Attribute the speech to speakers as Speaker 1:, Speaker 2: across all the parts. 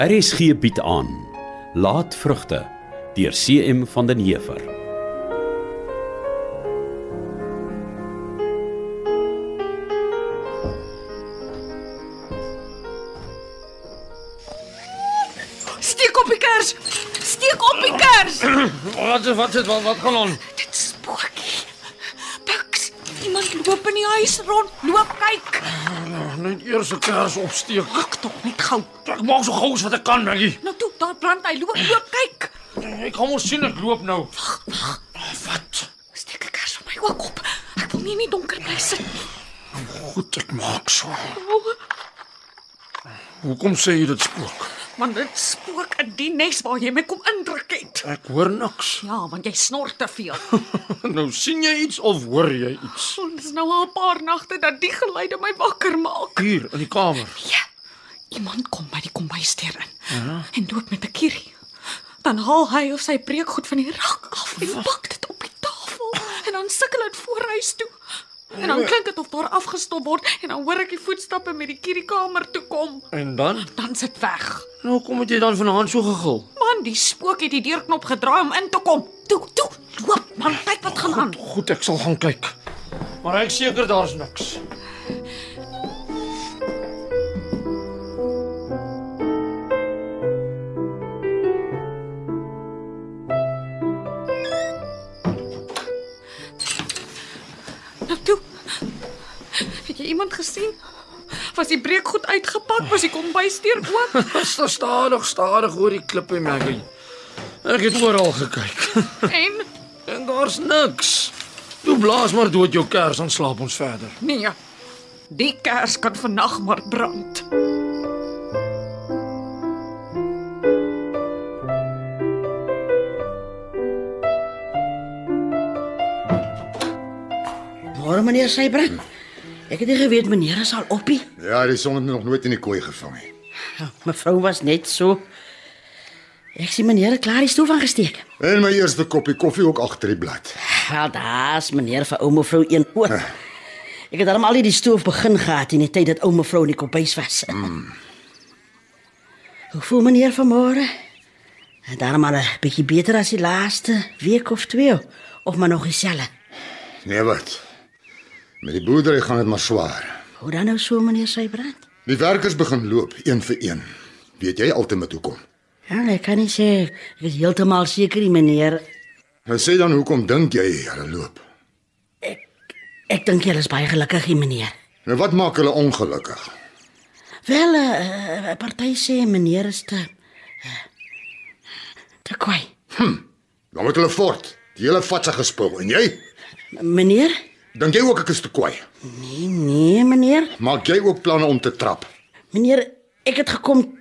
Speaker 1: RSG bied aan Laatvrugte deur CM van den Heever.
Speaker 2: Steek op die kers. Steek op die kers.
Speaker 3: Wat is wat is wat wat gaan aan?
Speaker 2: Dit spookie. Piks. Iemand loop in die huis rond. Loop kyk.
Speaker 3: Net eers 'n kers opsteek.
Speaker 2: Maak tog net gou.
Speaker 3: Ek maak so gou as wat ek kan, Maggie.
Speaker 2: Nou toe, daar brand hy. Loop, loop kyk.
Speaker 3: Ek gaan mos sien ek loop nou. Wat?
Speaker 2: Steek 'n kers op my ook op. Ek wil nie in die donker bly sit nie.
Speaker 3: Goed, ek maak so.
Speaker 2: O,
Speaker 3: Hoekom sê jy dit spook?
Speaker 2: Want dit spook in die nes waar jy my kom indruk het.
Speaker 3: Ek hoor niks.
Speaker 2: Ja, want jy snor te veel.
Speaker 3: nou sien jy iets of hoor jy iets?
Speaker 2: Ons is nou al 'n paar nagte dat die geluide my wakker maak.
Speaker 3: Hier in die kamer.
Speaker 2: Ja. Iemand kom by die kombuisdeur in. Ja. En loop met 'n kierie. Dan haal hy of sy breekgoed van die rak af en pak dit op die tafel en dan sukkel dit voorhuis toe. En dan klink dit of daar afgestop word en dan hoor ek die voetstappe met die kierie kamer toe kom.
Speaker 3: En dan?
Speaker 2: Dan sit weg.
Speaker 3: Nou kom dit jy dan vanaand so gegil.
Speaker 2: Man, die spook het die deurknop gedraai om in te kom. Toe, toe, loop man, kyk wat gaan aan.
Speaker 3: Goed, ek sal gaan kyk. Maar ek seker daar's niks.
Speaker 2: Nou toe. Het jy iemand gesien? Was die breekgoed uitgepak? Was die kombuisdeur oop?
Speaker 3: Sta stadig, stadig oor die klippe, Maggie. Ek het oral gekyk.
Speaker 2: En
Speaker 3: En daar's niks. Toe blaas maar dood jou kers en slaap ons verder.
Speaker 2: nee. Die kers kan vannag maar brand.
Speaker 4: Môre meneer Sybrand. Ek het nie geweet meneer is al oppie. Ja,
Speaker 5: Ja, die son het my nog nooit in die kooi gevang nie.
Speaker 4: Mevrou was net so. Ek sien meneer het klaar die stoel aangesteek.
Speaker 5: En my eerste koppie koffie ook agter die blad.
Speaker 4: Wel, daar's meneer vir ou mevrou een oor. Ek het darm al hierdie stoof begin gehad in die tyd dat ou mevrou in die kombuis was. Hoe voel meneer vanmôre? En daarom al 'n bietjie beter as die laaste week of twee of maar nog dieselfde.
Speaker 5: Nee wat. Met die boerdery gaan dit maar swaar.
Speaker 4: Hoe dan nou so meneer Sybrand?
Speaker 5: Die werkers begin loop een vir een. Weet jy altyd hoekom?
Speaker 4: Ja, ek kan nie sê ek is heeltemal seker nie meneer.
Speaker 5: Nou sê dan hoekom dink jy hulle loop?
Speaker 4: Ek dink julle is baie gelukkig hier meneer.
Speaker 5: Nou wat maak hulle ongelukkig?
Speaker 4: Wel, 'n uh, party sê meneer is te uh, te kwai.
Speaker 5: Dan moet hulle voort. Die hele vatse gespul en jy?
Speaker 4: Meneer?
Speaker 5: Dink jy ook ek is te kwaai?
Speaker 4: Nee, nee, meneer.
Speaker 5: Maak jy ook planne om te trap?
Speaker 4: Meneer, ek het gekom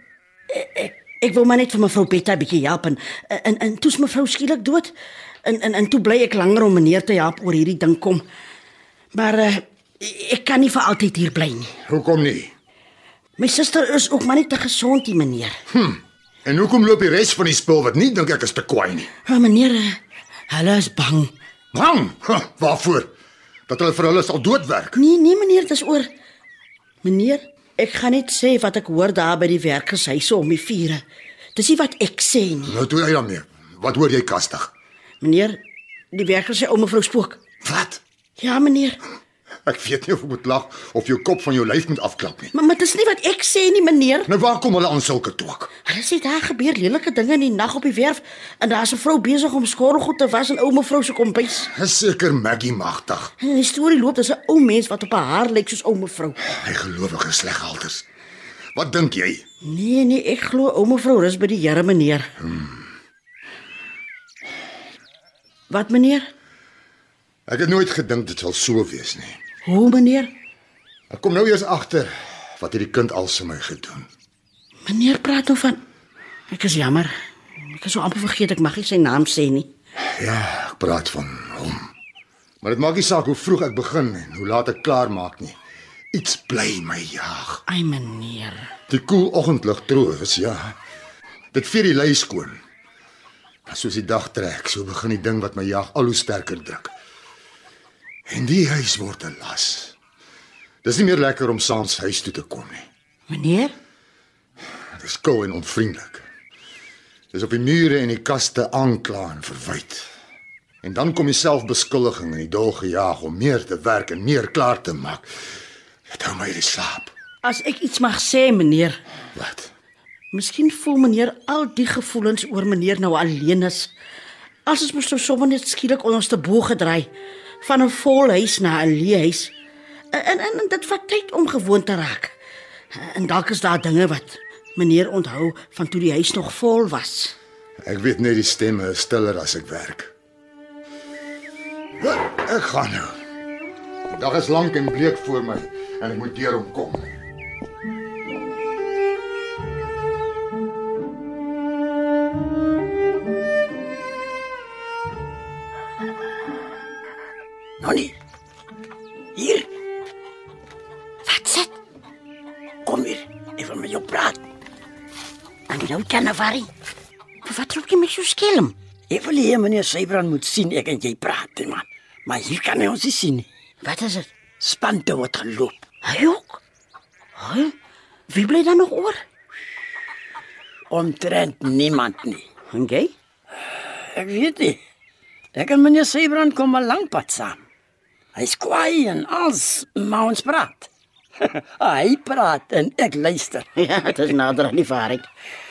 Speaker 4: ek ek, ek wil maar net vir mevrou Betta 'n bietjie help en eh, en en toe's mevrou skielik dood. En en en toe bly ek langer om meneer te help oor hierdie ding kom. Maar uh, ek kan nie vir altyd hier bly nie.
Speaker 5: Hoekom nie?
Speaker 4: My suster is ook maar net te gesond hier, meneer.
Speaker 5: En hoekom loop die res van die spul wat nie dink ek is te kwaai nie?
Speaker 4: Maar meneer, eh, hulle is bang.
Speaker 5: Bang. Huh, waarvoor? Dat hulle vir hulle sal doodwerk.
Speaker 4: Nee, nee meneer, dit is oor Meneer, ek gaan net sê wat ek hoor daar by die werkershuise om die vure. Dis nie wat ek sê nie.
Speaker 5: Nou toe jy daarmee. Wat hoor jy kastig?
Speaker 4: Meneer, die werkers sê ou mevrou spook.
Speaker 5: Wat?
Speaker 4: Ja meneer,
Speaker 5: Ek weet nie of ek moet lag of jou kop van jou lyf moet afklap nie.
Speaker 4: maar, maar dit is nie wat ek sê nie meneer.
Speaker 5: Nou waar kom hulle aan sulke twak?
Speaker 4: Hulle sê daar gebeur lelike dinge in die nag op die werf en daar's 'n vrou besig om skorrelgoed te was in ou mevrou se kombuis.
Speaker 5: Is seker Maggie magtig.
Speaker 4: En die storie loop dis 'n ou mens wat op haar haar lyk soos ou mevrou.
Speaker 5: Hy gelowige sleghalters. Wat dink jy?
Speaker 4: Nee nee, ek glo ou mevrou rus by die Here meneer. Wat meneer?
Speaker 5: Ek het nooit gedink dit sal so wees nie.
Speaker 4: Hoe meneer?
Speaker 5: Ek kom nou eers agter wat hierdie kind al se my gedoen.
Speaker 4: Meneer praat nou van Ek is jammer. Ek het so amper vergeet ek mag nie sy naam sê nie.
Speaker 5: Ja, ek praat van hom. Maar dit maak nie saak hoe vroeg ek begin en hoe laat ek klaar maak nie. Iets bly my jaag.
Speaker 4: Ai meneer.
Speaker 5: Die koel oggendlig troos, ja. Dit vee die lei skoon. Maar soos die dag trek, so begin die ding wat my jag al hoe sterker druk. En die huis word 'n las. Dis nie meer lekker om saans huis toe te kom nie.
Speaker 4: Meneer?
Speaker 5: Dis koud en onvriendelik. Dis op die mure en die kaste aankla en verwyd. En dan kom die selfbeskuldiging en die dol gejaag om meer te werk en meer klaar te maak. Dit hou my in die slaap.
Speaker 4: As ek iets mag sê, meneer,
Speaker 5: Wat?
Speaker 4: miskien voel meneer al die gevoelens oor meneer nou alleen is. As ons mos nou sommer net skielik onderste bo gedraai van 'n vol huis na 'n leë huis. En, en en dit vat tyd om gewoon te raak. En dalk is daar dinge wat meneer onthou van toe die huis nog vol was.
Speaker 5: Ek weet net die stemme is stiller as ek werk. Ek gaan nou. Die Dag is lank en bleek voor my en ek moet deur hom kom.
Speaker 6: Nonnie. Hier,
Speaker 2: Wat sit?
Speaker 6: kom hier. Ek wil met jou praat.
Speaker 4: En nou Janavari, wat roep jy met jou skelm?
Speaker 6: Ek wil hê meneer Sybrand moet sien ek en jy praat, hè, man. Maar hier kan hy ons nie sien. nie.
Speaker 4: Wat is dit?
Speaker 6: Spante word geloop.
Speaker 4: Hy ook. Hy? Wie bly dan nog oor?
Speaker 6: Omtrent niemand nie.
Speaker 4: En jy?
Speaker 6: Ek weet nie. Ek en meneer Sybrand kom 'n lang pad saam. Hy's kwaai en als maar ons praat. hy praat en ek luister.
Speaker 4: Ja, dit is nader aan die waarheid.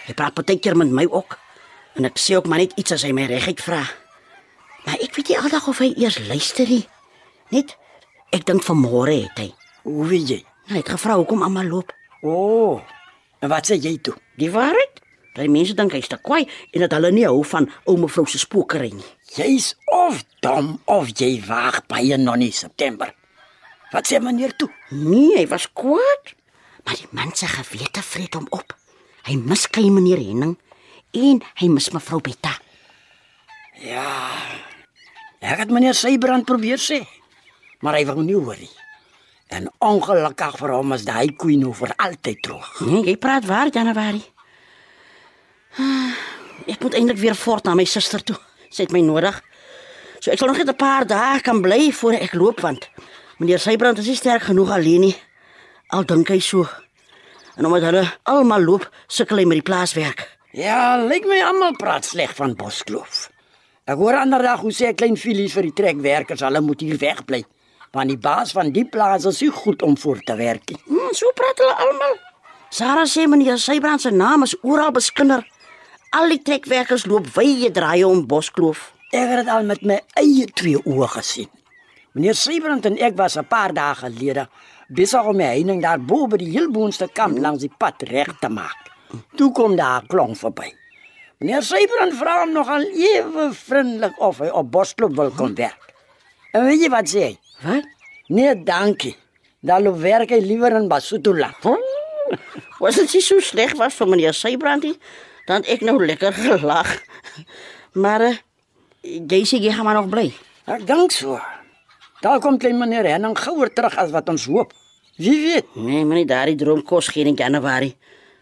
Speaker 4: Hy praat partykeer met my ook. En ek sê ook maar net iets as hy my reguit vra. Maar ek weet nie aldag of hy eers luister nie. Net ek dink vanmôre het hy.
Speaker 6: Hoe weet jy?
Speaker 4: Hy het gevra hoekom almal loop.
Speaker 6: O. Oh, en wat sê jy toe?
Speaker 4: Die waarheid? Daai mense dink hy's te kwaai en dat hulle nie hou van ou mevrou se spookery nie.
Speaker 6: Jy's of dom of jy waag baie nonnie September. Wat sê meneer toe?
Speaker 4: Nee, hy was kwaad. Maar die man se gewete vreet hom op. Hy mis klein meneer Henning en hy mis mevrou Betta.
Speaker 6: Ja. Ek het meneer Sybrand probeer sê, maar hy wou nie hoor nie. En ongelukkig vir hom is daai koei nou vir altyd droog.
Speaker 4: Nee, jy praat waar, Januarie. Ah, Ek moet eintlik weer voort na my suster toe. Sy het my nodig. So ek sal nog net 'n paar dae kan bly voor ek loop want meneer Sybrand is nie sterk genoeg alleen nie. Al dink hy so. En omdat hulle almal loop, sukkel hy met die plaaswerk.
Speaker 6: Ja, lyk my almal praat sleg van Boskloof. Ek hoor ander dag hoe sê 'n klein filie vir die trekwerkers, hulle moet hier wegbly, want die baas van die plaas is nie goed om voor te werk nie.
Speaker 4: Hmm, so praat hulle almal. Sarah sê meneer Sybrand se naam is oral beskinder. Al die trekwerkers loop wye draaie om Boskloof.
Speaker 6: Ek het dit al met my eie twee oë gesien. Meneer Sybrand en ek was 'n paar dae gelede besig om die heining daar bo by die heel boonste kamp langs die pad reg te maak. Toe kom daar 'n klomp verby. Meneer Sybrand vra hom nogal ewe vriendelik of hy op Bosklop wil kom werk. En weet jy wat sê hy?
Speaker 4: Wat?
Speaker 6: Nee, dankie. Daar loop werk hy liewer in Basotho-land.
Speaker 4: Was dit nie so sleg was vir meneer Sybrandie dan het ek nou lekker gelag. Maar eh, jy sê jy gaan maar nog bly.
Speaker 6: Ek dink so. Daar kom klein meneer Henning gouer terug as wat ons hoop. Wie weet?
Speaker 4: Nee, moenie daardie droom kos gee in Januarie.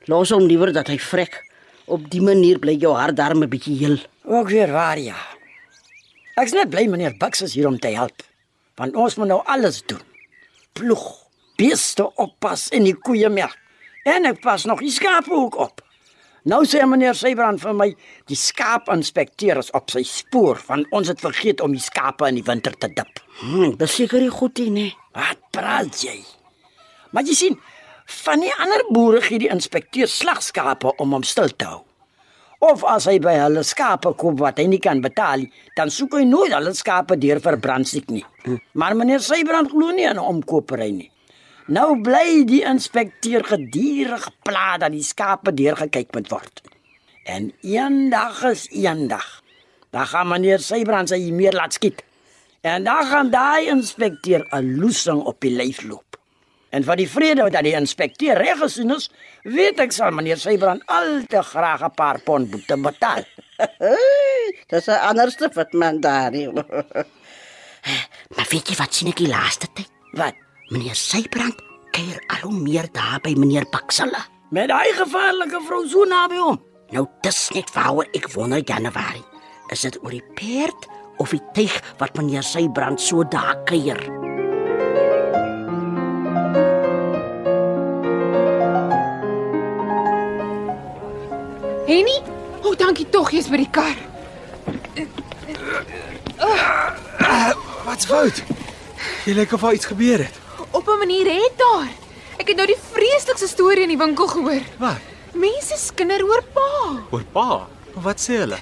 Speaker 4: Los hom liewer dat hy vrek. Op die manier bly jou hart darm 'n bietjie heel.
Speaker 6: Ook weer waar ja. Ek's net bly meneer Bucks is hier om te help. Want ons moet nou alles doen. Ploeg, beeste oppas en die koeie melk. En ek pas nog die skape ook op. Nou sê meneer Sybrand vir my, die skaapinspekteur is op sy spoor want ons het vergeet om die skape in die winter te dip.
Speaker 4: Hm, dis seker nie goed nie, nee.
Speaker 6: Wat praat jy? Maar jy sien, van die ander boere gee die inspekteur slagskape om hom stil te hou. Of as hy by hulle skape koop wat hy nie kan betaal nie, dan soek hy nooit hulle skape deur vir brandstiek nie. Maar meneer Sybrand glo nie aan 'n omkopery nie. Nou bly die inspekteur gedurig pla dat die skape deurgekyk moet word. En eendag is eendag. Dan gaan meneer Sybrand sy meer laat skiet. En dan gaan daai inspekteur 'n loesing op die lyf loop. En van die vrede dat die inspekteur reg gesien is, weet ek sal meneer Sybrand al te graag 'n paar pond boete betaal.
Speaker 4: Dis 'n anderste wat man daardie. maar weet jy wat sien ek die laaste tyd?
Speaker 6: Wat?
Speaker 4: Meneer Sybrand kuier al hoe meer daar by meneer Baksela.
Speaker 6: Met daai gevaarlike vrou so naby hom.
Speaker 4: Nou dis net waaroor ek wonder Januarie. Is dit oor die perd of die tuig wat meneer Sybrand so daar kuier?
Speaker 7: Henny, o oh, dankie tog jy's by die kar.
Speaker 8: Wat's fout? Jy lyk of al iets gebeur het.
Speaker 7: Op 'n manier het daar. Ek het nou die vreeslikste storie in die winkel gehoor.
Speaker 8: Wat?
Speaker 7: Mense skinder oor pa.
Speaker 8: Oor pa. Wat sê hulle?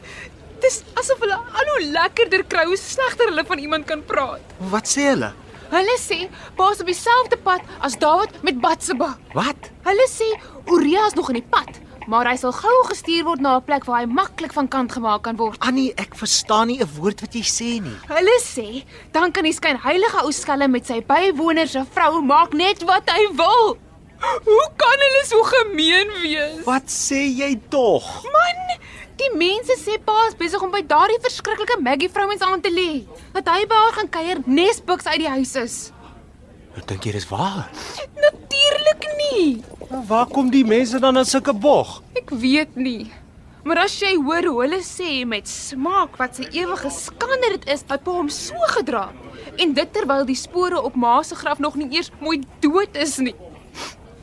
Speaker 7: Dis asof hulle al hoe lekkerder kry hoe slegter hulle van iemand kan praat.
Speaker 8: Wat sê hulle?
Speaker 7: Hulle sê pa's op dieselfde pad as Dawid met Batseba.
Speaker 8: Wat?
Speaker 7: Hulle sê Uria is nog in die pad, maar hy sal gou gestuur word na 'n plek waar hy maklik van kant gemaak kan word.
Speaker 8: Annie, ek verstaan nie 'n woord wat jy sê nie.
Speaker 7: Hulle sê dan kan die skynheilige ou skelm met sy bywoner se vrou maak net wat hy wil. Hoe kan hulle so gemeen wees?
Speaker 8: Wat sê jy tog?
Speaker 7: Man, die mense sê pa is besig om by daardie verskriklike Maggie vrouens aan te lê. Dat hy by haar gaan kuier nesbuks uit die huis is.
Speaker 8: Ek dink jy dis waar.
Speaker 7: Natuurlik nie.
Speaker 8: Maar Nou, waar kom die mense dan aan sulke bog?
Speaker 7: Ek weet nie. Maar as jy hoor hoe hulle sê met smaak wat sy ewige skander dit is dat pa hom so gedra het en dit terwyl die spore op ma se graf nog nie eers mooi dood is nie.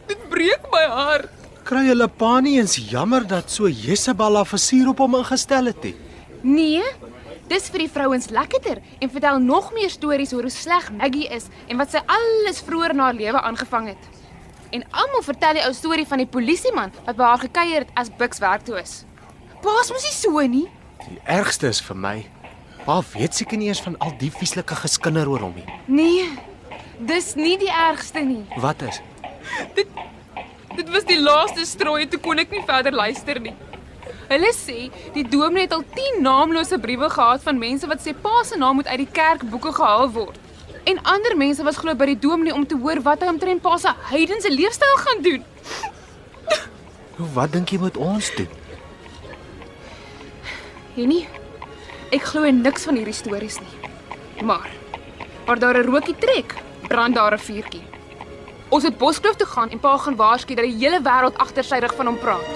Speaker 7: Dit breek my hart.
Speaker 8: Kry hulle pa nie eens jammer dat so Jesebel haar versier op hom ingestel het nie.
Speaker 7: Nee. Dis vir die vrouens lekkerder en vertel nog meer stories oor hoe sleg Maggie is en wat sy alles vroeër in haar lewe aangevang het. En almal vertel die ou storie van die polisieman wat by haar gekuier het as Bux werk toe is. Paas mos nie so nie.
Speaker 8: Die ergste is vir my. Pa weet seker nie eens van al die vieslike geskinder oor hom nie.
Speaker 7: Nee. Dis nie die ergste nie.
Speaker 8: Wat is?
Speaker 7: Dit was die laaste strooi toe kon ek nie verder luister nie. Hulle sê die dominee het al 10 naamlose briewe gehad van mense wat sê pa se naam moet uit die kerkboeke gehaal word. En ander mense was glo by die dominee om te hoor wat hy omtrent pa se heidense leefstyl gaan doen.
Speaker 8: Hoe Nou, wat dink jy moet ons doen?
Speaker 7: Henny, ek glo in niks van hierdie stories nie. Maar waar daar 'n rookie trek, brand daar 'n vuurtjie. Ons het Boskloof toe gaan en pa gaan waarsku dat die hele wêreld agter sy rug van hom praat.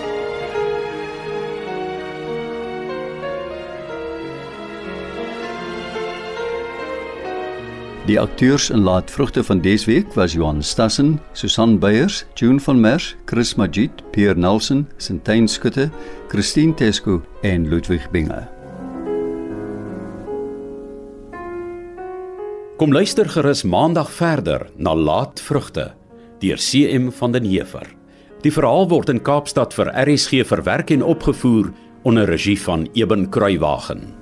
Speaker 1: Die akteurs in Laatvrugte van Desweek was Johan Stassen, Susan Beyers, June van Merwe, Chris Magid, Pierre Nelson, Sintyn Skutte, Christine Tesco en Ludwig Binger.
Speaker 9: Kom luister gerus Maandag verder na Laatvrugte deur CM van den Heever. Die verhaal word in Kaapstad vir RSG verwerk en opgevoer onder regie van Eben Kruiwagen.